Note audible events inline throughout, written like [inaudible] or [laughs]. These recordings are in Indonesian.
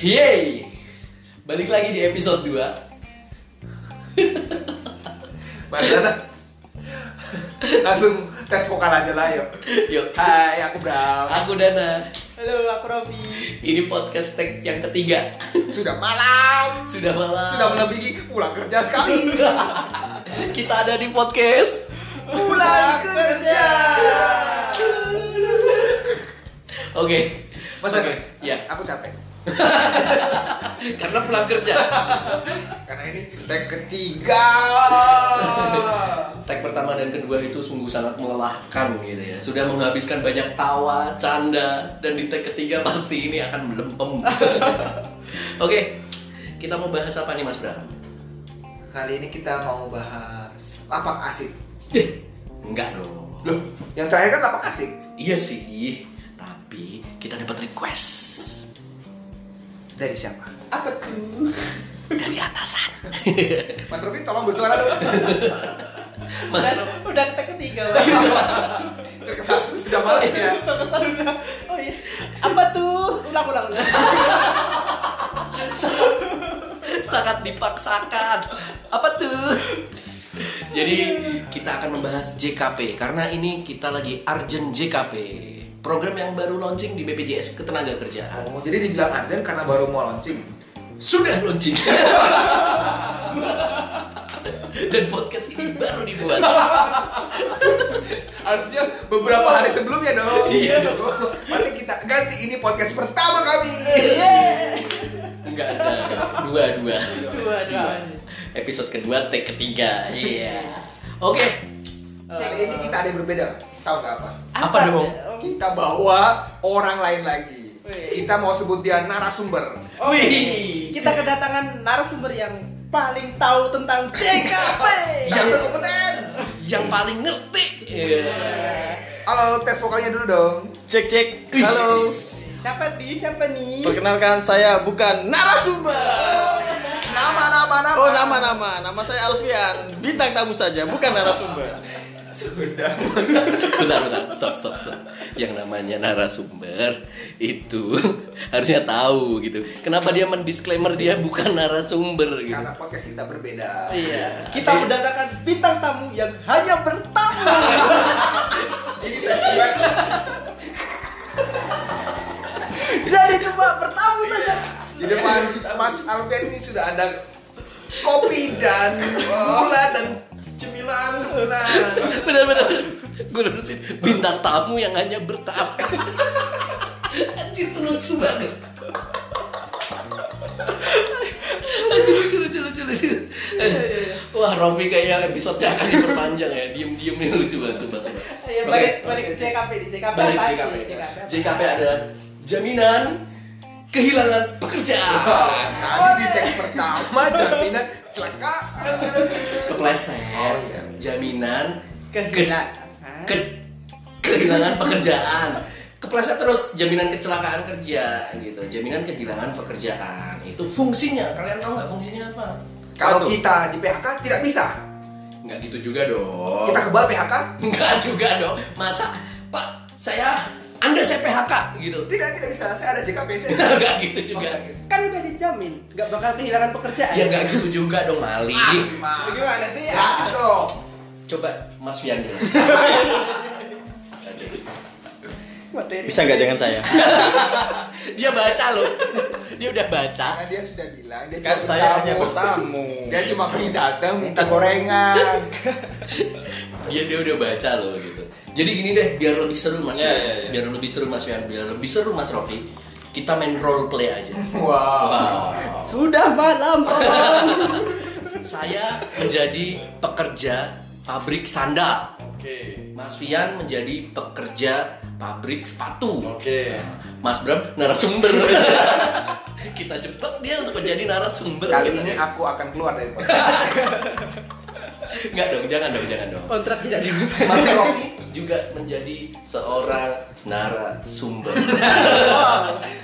Yeay! Balik lagi di episode 2 Mana dah? ya Langsung tes vokal aja lah yuk. Yuk, Hai, aku Bram. aku Dana Halo, aku Robi. Ini podcast tag yang ketiga Sudah malam. Sudah malam Sudah melebihi pulang kerja sekali. [laughs] Kita ada di podcast Pulang kerja. Oke Mas Oke, Oke, iya. ya. Aku capek. Karena pulang kerja Karena ini tag ketiga. Tag pertama dan kedua itu sungguh sangat melelahkan gitu ya Sudah menghabiskan banyak tawa, canda Dan di tag ketiga pasti ini akan melempem [laughs] Oke, kita mau bahas apa nih Mas Bram? Kali ini kita mau bahas lapak asik. Ih, Enggak dong Loh, yang terakhir kan lapak asik. Iya sih, tapi kita dapat request Dari siapa? Apa tuh? dari atasan. Mas Robi tolong bersuara dulu. Mas, udah, udah kita ketiga lah. Terkesan sudah malas Iya. ya. Terkesan udah. Oh iya. Apa tuh? Ulang ulang. ulang. sangat dipaksakan. Apa tuh? Jadi kita akan membahas JKP karena ini kita lagi urgent JKP. Program yang baru launching di BPJS Ketenagakerjaan. Oh, jadi dibilang Arjen karena baru mau launching. Sudah launching. Dan podcast ini baru dibuat. Harusnya beberapa hari sebelumnya dong. Iya. Mari kita ganti ini podcast pertama kami. Iya. Enggak ada. Dua-dua. Dua dua. Iya. Episode kedua, take ketiga. Iya. [laughs] Oke. Eh, Kali ini kita ada yang berbeda. Tahu nggak apa? Apa dong? Oh, Kita bawa orang lain lagi. Wih. Kita mau sebut dia narasumber. Wih. Oh, iya. Kita kedatangan narasumber yang paling tahu tentang JKP. Yang- Yang kompeten. yang paling ngerti. Iya. Halo, tes vokalnya dulu dong. Cek cek. Halo. Siapa di siapa nih? Perkenalkan saya bukan narasumber. Nama, nama, nama. Oh nama nama nama saya Alfian bintang tamu saja bukan narasumber. Bentar, Sudah. bentar. Stop, stop, stop. Yang namanya narasumber itu [laughs] harusnya tahu gitu. Kenapa dia mendisklaimer dia bukan narasumber gitu. Karena podcast kita berbeda. Iya. Kita mendatangkan bintang tamu yang hanya bertamu. Ini spesial. Jadi coba bertamu saja. Di depan Mas Alvin ini sudah ada kopi dan gula dan Cemilan. nah Bener, bener. Gue lurusin bintang tamu yang hanya bertamu. Anjir tuh lucu banget. Anjir lucu lucu lucu lucu. Wah Rofi kayaknya episode-nya akan diperpanjang ya. Diem-diem nih lucu banget coba coba. Ayo Oke. Iya, balik balik ke JKP di JKP. balik apaan JKP. sih? apa? JKP adalah jaminan kehilangan pekerjaan. Tadi di tag pertama jaminan kecelakaan. Kepleset. Oh, iya. Jaminan Kehilangan. ke- kehilangan pekerjaan. Kepleset terus jaminan kecelakaan kerja gitu. Jaminan kehilangan pekerjaan. Itu fungsinya. Kalian tahu nggak fungsinya apa? Kalau Aduh. kita di PHK tidak bisa. Nggak gitu juga Oh. dong. Kita kebal PHK [laughs] Nggak juga dong. Masa Pak saya Anda saya PHK gitu. [laughs] tidak tidak bisa. Saya ada JKP saya. Nggak gitu juga. Kan udah dijamin nggak bakal kehilangan pekerjaan. Ya nggak gitu juga dong Mali. Bagaimana sih? Asik Ya, dong. Coba Mas Fian jelaskan. Materi. Bisa nggak jangan saya? Dia baca loh. Dia udah baca. Karena dia sudah bilang dia Kan cuma saya bertamu. hanya bertamu. Iya. Dia cuma pengen datang minta gorengan. Dia dia udah baca loh gitu. Jadi gini deh, biar lebih seru Mas. Iya, Fian. iya, iya. Biar lebih seru Mas Fian, biar lebih seru Mas Rofi. Kita main role play aja. Wow. Wow. Sudah malam, [laughs] tolong. Saya menjadi pekerja pabrik sandal. Oke. Mas Fian menjadi pekerja pabrik sepatu. Oke. Mas Bram narasumber. Kita jebak dia untuk menjadi narasumber. Kali ini aku akan keluar dari podcast. Enggak dong, jangan dong, jangan dong. Kontrak tidak di Mas Rofi juga menjadi seorang narasumber.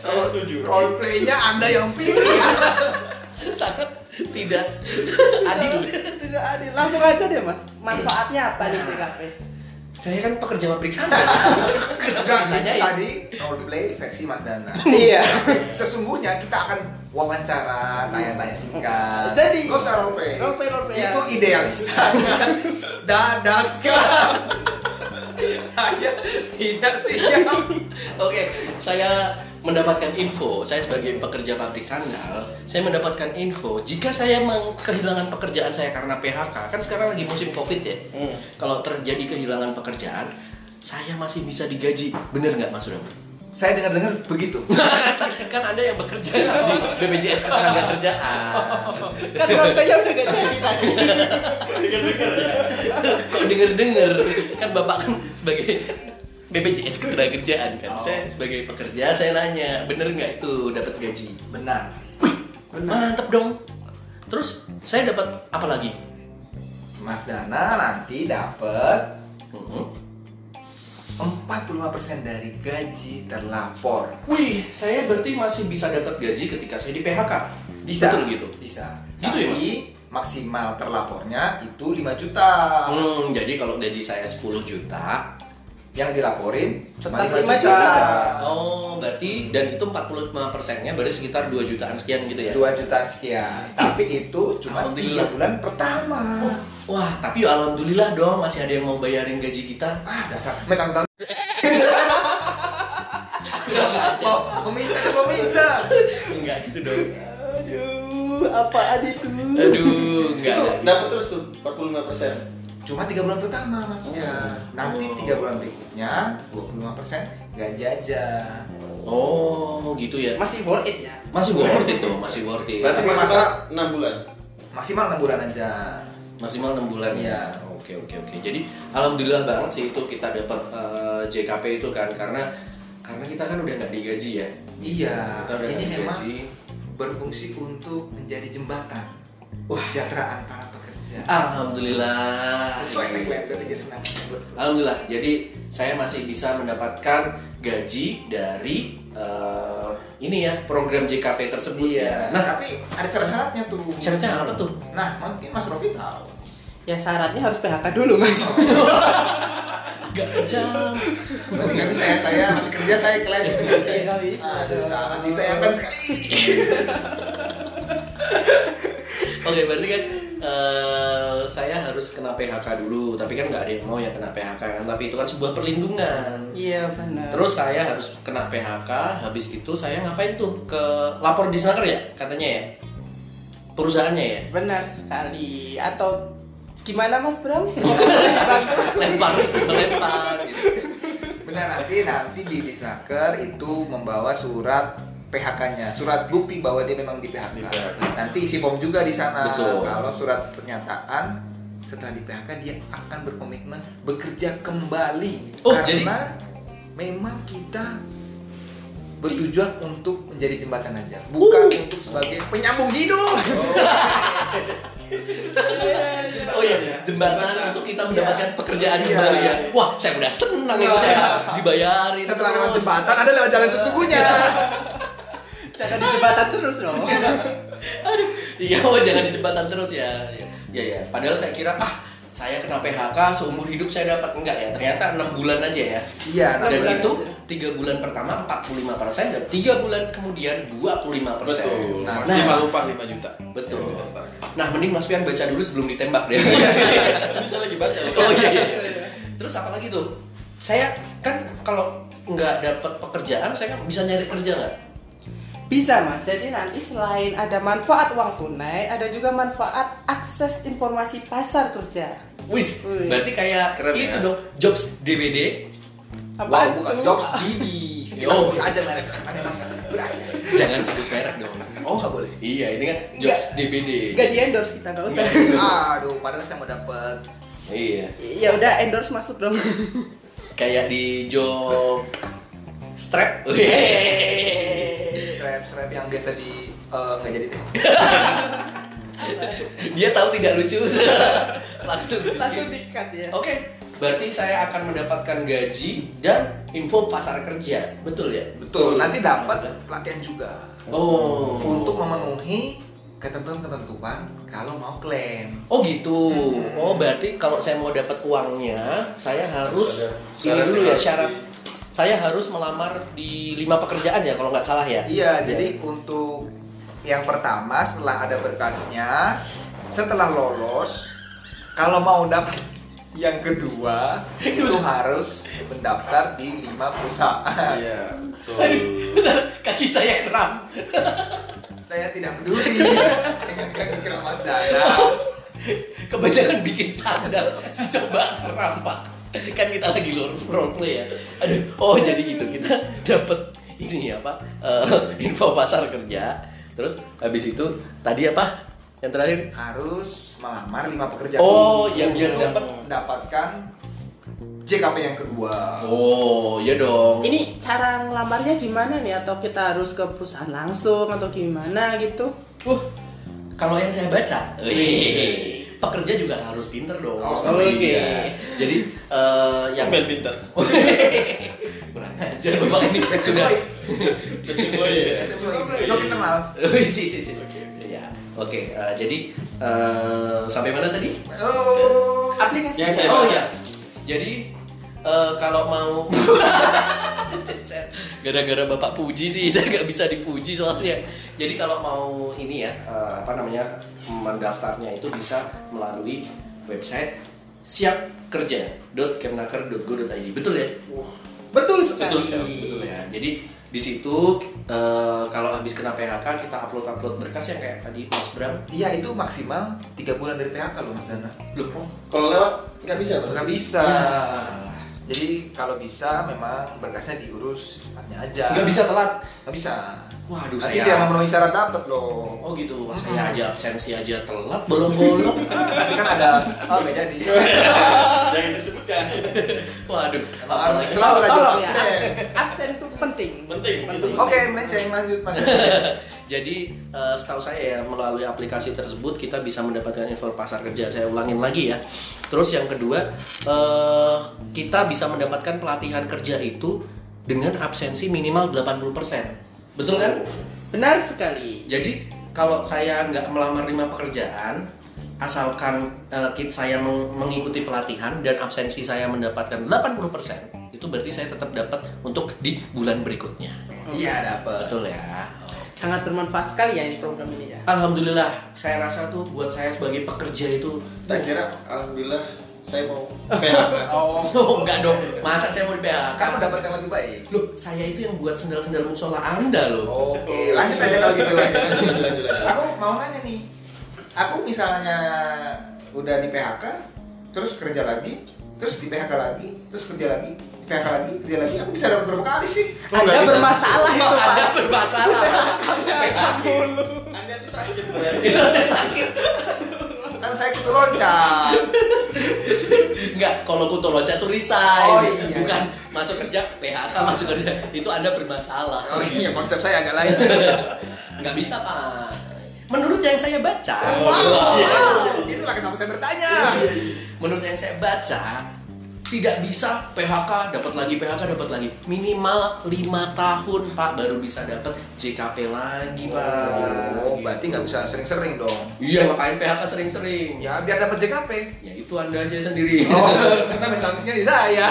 Saya setuju. Role play-nya Anda yang pilih. [laughs] [laughs] Sangat tidak adil. [laughs] Tidak adil. Langsung aja deh, Mas. Manfaatnya apa nih JKP? Saya kan pekerja pabrik sana. Enggak, Kenapa ini ditanyain? tadi roleplay versi Mas Dana. Iya. Sesungguhnya kita akan wawancara, tanya-tanya singkat. Jadi- Gak usah roleplay. Roleplay, roleplay, ya. Itu idealis. [laughs] Dadakan. Saya tidak siap. Oke, saya mendapatkan info. Saya sebagai pekerja pabrik sandal, saya mendapatkan info jika saya meng- kehilangan pekerjaan saya karena PHK. Kan sekarang lagi musim Covid ya. Hmm. Kalau terjadi kehilangan pekerjaan, saya masih bisa digaji. Bener nggak Mas Suram? Saya dengar-dengar begitu. [laughs] kan Anda yang bekerja di [laughs] BPJS Ketenagakerjaan. Kan roleplay-nya udah gak jadi tadi. Kok denger-denger kan Bapak kan sebagai BPJS Ketenagakerjaan kan. Oh. Saya sebagai pekerja saya nanya, bener nggak itu dapat gaji? Benar. Mantep dong. Terus saya dapat apa lagi? Mas Dana nanti dapat Mhm. 45% dari gaji terlapor. Wih, saya berarti masih bisa dapat gaji ketika saya di PHK. Bisa. Betul gitu. Bisa. Gitu ya, Tapi maksimal terlapornya itu 5 juta. Hmm, jadi kalau gaji saya 10 juta, Yang dilaporin cuma Tetap 5 lima juta. juta. oh berarti dan itu 45 persennya berarti sekitar 2 jutaan sekian gitu ya. 2 juta sekian. Tapi itu cuma 3 Alhamdulillah. bulan pertama. Wah, tapi ya alhamdulillah dong masih ada yang mau bayarin gaji kita. [laughs] Ah, dasar mentang-mentang Enggak aja. mau meminta meminta. Enggak gitu dong. Aduh, apaan itu? Aduh, enggak. enggak gitu. Dapat terus tuh 45 persen. Cuma 3 bulan pertama masnya. Nanti 3 bulan berikutnya 25% gaji aja. Oh, gitu ya. Masih worth it ya. Masih worth it tuh, masih worth it. Berarti Tapi maksimal masa- 6 bulan. Maksimal 6 bulan aja. maksimal 6 bulan Iya. ya oke oke oke jadi alhamdulillah banget sih itu kita dapat eh, JKP itu kan karena karena kita kan udah nggak digaji ya Iya, kita udah nggak ini memang digaji berfungsi untuk menjadi jembatan Wah. kesejahteraan para pekerja. alhamdulillah Sesuai tagline tadi dia senang disebut. alhamdulillah jadi saya masih bisa mendapatkan gaji dari eh, ini ya program JKP tersebut ya Iya. nah tapi ada syarat-syaratnya tuh. syaratnya apa tuh Nah, mungkin Mas Rofi tahu. Ya syaratnya harus PHK dulu, Mas. nggak jam Tapi nggak bisa ya, saya masih kerja saya klaim itu nggak bisa. Nggak bisa, Aduh, dong. sangat disayangkan sekali. Oke, berarti kan eh, saya harus kena PHK dulu, tapi kan nggak ada yang mau yang kena PHK kan, tapi itu kan sebuah perlindungan. Iya, benar. Terus saya harus kena PHK, habis itu saya ngapain tuh ke lapor di Snaker ya, katanya ya, perusahaannya ya, benar sekali. Atau gimana, Mas Bram? Mau bantu? lempar, lempar gitu. Benar nanti nanti di Disnaker itu membawa surat PHK-nya, surat bukti bahwa dia memang di PHK. Di PHK. Nanti isi form juga di sana. Betul. Kalau surat pernyataan setelah di PHK dia akan berkomitmen bekerja kembali Oh, karena jadi- memang kita bertujuan untuk menjadi jembatan aja, Uh. bukan untuk sebagai penyambung hidup. Oh iya, jembatan untuk kita mendapatkan pekerjaan Iya. kembali ya. Wah, saya udah senang itu Wah. saya dibayarin. setelah lewat terus. jembatan ada lewat jalan sesungguhnya. [laughs] Jangan di jembatan terus dong. Aduh, iya, oh, jangan di jembatan terus ya. Ya, ya, ya. Padahal saya kira ah saya kena PHK seumur hidup saya dapat enggak ya? Ternyata enam bulan aja ya. Iya, nah, Dan bulan itu aja. tiga bulan pertama 45 persen dan tiga bulan kemudian 25 persen. Betul. Nah, Maksimal upah 5 juta. Betul. Yang didaftarkan. nah, mending Mas Pian baca dulu sebelum ditembak deh. [laughs] Bisa lagi baca. oh iya, iya. Terus apa lagi tuh? Saya kan kalau nggak dapat pekerjaan, saya kan bisa nyari kerja nggak? Bisa mas, jadi nanti selain ada manfaat uang tunai, ada juga manfaat akses informasi pasar kerja. Wis, Wih. berarti kayak Keren itu ya. dong jobs DBD Wow, Apaan bukan tuh? jobs Didi. Yo. Kita sebut aja merek. Aneh banget. Berani. Jangan sebut merek dong. Oh, nggak boleh. Iya, ini kan jobs DBD. Gak di endorse kita nggak usah. Nggak. Aduh, padahal saya mau dapet Iya. Ya udah endorse masuk dong. Kayak di job strap. strap-strap yang biasa di eh, nggak jadi deh. Dia tahu tidak lucu. [laughs] Langsung di skip. Langsung dikat ya. Oke, Oh. berarti saya akan mendapatkan gaji dan info pasar kerja. Betul ya? Betul. Nanti dapat pelatihan juga Oh. untuk memenuhi ketentuan-ketentuan kalau mau klaim. Oh gitu. Hmm. Oh berarti kalau saya mau dapat uangnya, saya Ada harus ini syarat dulu yang ya harus syarat. di- Saya harus melamar di lima pekerjaan ya kalau nggak salah ya. Iya, jadi untuk yang pertama setelah ada berkasnya, setelah lolos, kalau mau dapat yang kedua [laughs] itu harus mendaftar di lima perusahaan. Iya, betul. Kaki saya kram. Saya tidak peduli [laughs] dengan kaki keramas dada. Kebanyakan bikin sandal dicoba kram pak. Kan kita lagi lo- role play ya. Aduh, oh jadi gitu kita dapat ini apa eh, info pasar kerja. Terus habis itu tadi apa yang terakhir? harus melamar lima pekerjaan. Oh, ya biar dapat. mendapatkan JKP yang kedua. Oh ya dong. Ini cara ngelamarnya gimana nih? Atau kita harus ke perusahaan langsung atau gimana gitu? Wah, uh, kalau yang saya baca, wih, pekerja juga harus pinter dong. Oh, Oke. iya. Jadi eh, yang Ambil pintar. [laughs] kurang ajar bapak ini sudah. Oh iya. Itu internal. [laughs] Wih, si si si. Ya, oke. eh, jadi eh, sampai mana tadi? Oh, Aplikasi. Yang saya Oh baca. ya. Jadi eh, kalau mau [laughs] Jadi saya- gara-gara Bapak puji sih [laughs] saya nggak bisa dipuji soalnya. Jadi kalau mau ini ya eh, apa namanya mendaftarnya itu bisa melalui website siapkerja.kemnaker.go.id. Betul ya? Betul sekali. Betul sekali. Betul ya. Jadi di situ eh, kalau habis kena PHK kita upload-upload berkas yang kayak tadi Mas Bram. iya itu maksimal tiga bulan dari PHK loh Mas Dana. Loh, Kalau lewat nggak bisa, Bang. Nggak bisa. Ya. Jadi kalau bisa memang berkasnya diurus cepatnya aja. nggak bisa telat. Nggak bisa. Waduh, Nanti saya dia memenuhi syarat dapat loh. Oh gitu, wah, saya aja absensi aja telat, belum bolong. [laughs] Nanti kan ada [laughs] oh nggak jadi. Jangan disebutkan. Waduh, Emang apa harus lagi? selalu rajin Tolong ya. Oh, absen. Absen itu penting. Penting, penting. Oke, melenceng lanjut Mas. Jadi eh, setahu saya ya melalui aplikasi tersebut kita bisa mendapatkan info pasar kerja. Saya ulangin lagi ya. Terus yang kedua eh, kita bisa mendapatkan pelatihan kerja itu dengan absensi minimal 80%. Betul kan? Benar sekali. Jadi kalau saya nggak melamar lima pekerjaan, asalkan eh, kit saya meng- mengikuti pelatihan dan absensi saya mendapatkan 80%, itu berarti saya tetap dapat untuk di bulan berikutnya. Iya dapat. Betul ya. Sangat bermanfaat sekali ya ini program ini ya. Alhamdulillah, saya rasa tuh buat saya sebagai pekerja itu [laughs] Tak kira, alhamdulillah saya mau PHK. Oh, Oh, enggak dong. Masa saya mau di PHK? kamu dapat yang lebih baik. Loh, saya itu yang buat sendal-sendal musola Anda loh. Oke, lanjut aja kalau gitu lanjut. Lanjut, lanjut, lanjut. Aku mau nanya nih. Aku misalnya udah di PHK, terus kerja lagi, terus di PHK lagi, terus kerja lagi, di PHK lagi, kerja lagi. Aku bisa dapat berapa kali sih? nggak ya. Anda bisa. bermasalah itu Pak. Anda bermasalah. Anda tuh sakit Bang. itu Anda sakit. Kan saya ikut loncat. Enggak, kalau kutu loncat tuh resign. Oh, iya. Bukan masuk kerja PHK masuk kerja. Itu Anda bermasalah. Oh iya, konsep saya agak lain. Enggak bisa, Pak. Menurut yang saya baca, Oh, iya, Wow, [laughs] itulah kenapa saya bertanya. menurut yang saya baca tidak bisa PHK dapat lagi PHK dapat lagi minimal lima tahun Pak baru bisa dapat JKP lagi Pak. Gitu. Oh, berarti nggak bisa sering-sering dong. Iya ngapain PHK sering-sering? Ya. Ya, biar dapat JKP. ya itu anda aja sendiri. [laughs] Oh, karena menangisnya di saya.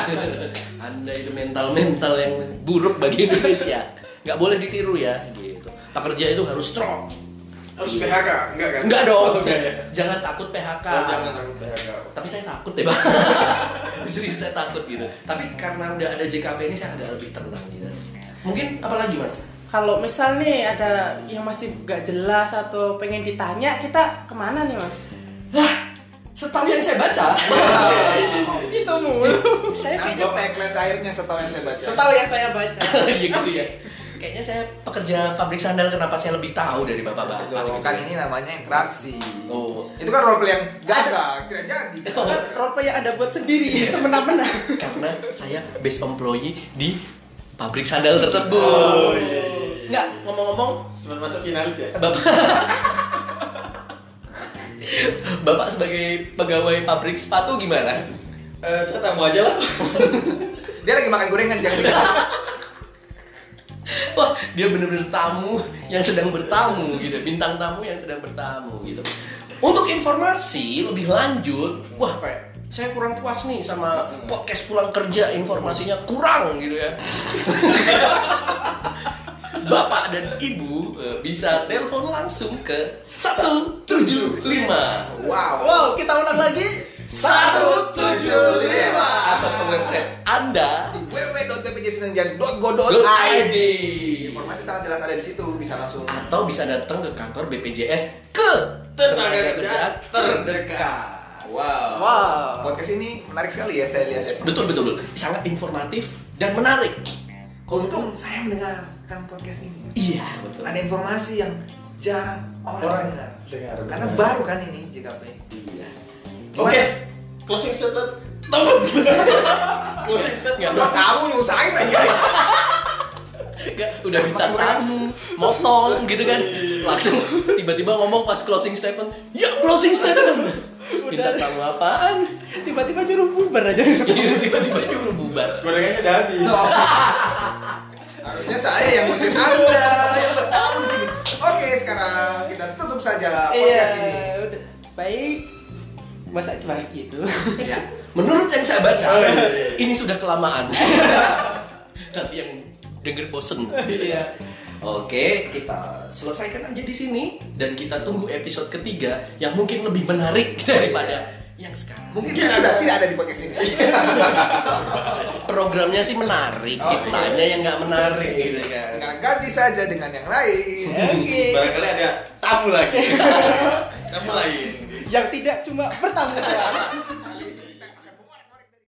anda itu mental-mental yang buruk bagi Indonesia. Nggak boleh ditiru ya gitu. Pekerja itu harus strong. Harus PHK, enggak kan? Enggak Oh, dong. iya, Enggak ya. Jangan takut PHK. Oh, jangan takut PHK. tapi saya takut deh pak Serius saya takut gitu tapi karena udah ada JKP ini saya agak lebih tenang gitu mungkin apalagi mas Kalau misal nih ada yang masih gak jelas atau pengen ditanya, kita kemana nih mas? Hah, setahu yang saya baca Itu Oh, gitu mulu. saya Aku kayaknya tagline terakhirnya setahu yang saya baca. Eh, Setahu yang saya baca. Iya gitu ya kayaknya saya pekerja pabrik sandal kenapa saya lebih tahu dari bapak-bapak gitu. Loh, kan ini namanya interaksi. Oh. Itu kan role play yang gagah, tidak jadi. Bukan rope kan yang anda buat sendiri [laughs] semena-mena. karena saya base employee di pabrik sandal tersebut Oh, iya, iya, iya. nggak ngomong-ngomong Cuman masuk finalis ya. Bapak Bapak sebagai pegawai pabrik sepatu gimana? Eh, saya tamu aja lah. Dia lagi makan gorengan jangan. Oke wah dia bener-bener tamu yang sedang bertamu gitu bintang tamu yang sedang bertamu gitu untuk informasi lebih lanjut wah kayak saya kurang puas nih sama podcast pulang kerja informasinya kurang gitu ya Bapak dan Ibu eh, bisa telepon langsung ke 175 Wow. Wow, kita ulang lagi. 175 atau ke website Anda www.bpjsenenjan.go.id .id Informasi sangat jelas ada di situ, bisa langsung atau bisa datang ke kantor BPJS ke Tenaga kerjaan terdekat. Wow. Wow. Podcast ini menarik sekali ya saya lihat. Betul betul betul. Sangat informatif dan menarik. gitu, Untung saya mendengarkan podcast ini. Iya betul. Ada informasi yang jarang orang, Orang dengar. dengar. Karena baru kan ini JKP. Iya. Gimana? Oke. Closing statement. Temen. [laughs] Closing statement. Udah kamu nih usahain aja. Nggak, udah bintang tamu, motong gitu kan. Langsung tiba-tiba ngomong pas closing statement, ya closing [laughs] statement. Bintang tamu apaan? [laughs] Tiba-tiba nyuruh bubar aja. Iya, tiba-tiba nyuruh bubar. Gorengannya udah habis. Harusnya saya yang ngurusin Anda yang bertamu di sini. Oke, sekarang kita tutup saja Iya. podcast ini. udah. Baik. Masa cuma gitu. Ya, menurut yang saya baca, Oh, iya, ini sudah kelamaan. [laughs] Nanti yang denger bosen. Iya. Oke, kita selesaikan aja di sini dan kita tunggu episode ketiga yang mungkin lebih menarik daripada yang sekarang. Oh, iya. Mungkin tidak ada, tidak ada di podcast ini. Programnya sih menarik, Oh, kitanya yang nggak menarik gitu kan. Nah, ganti saja dengan yang lain. Oke. Barangkali ada tamu lagi. Kamu lain. Yang tidak cuma bertamu doang.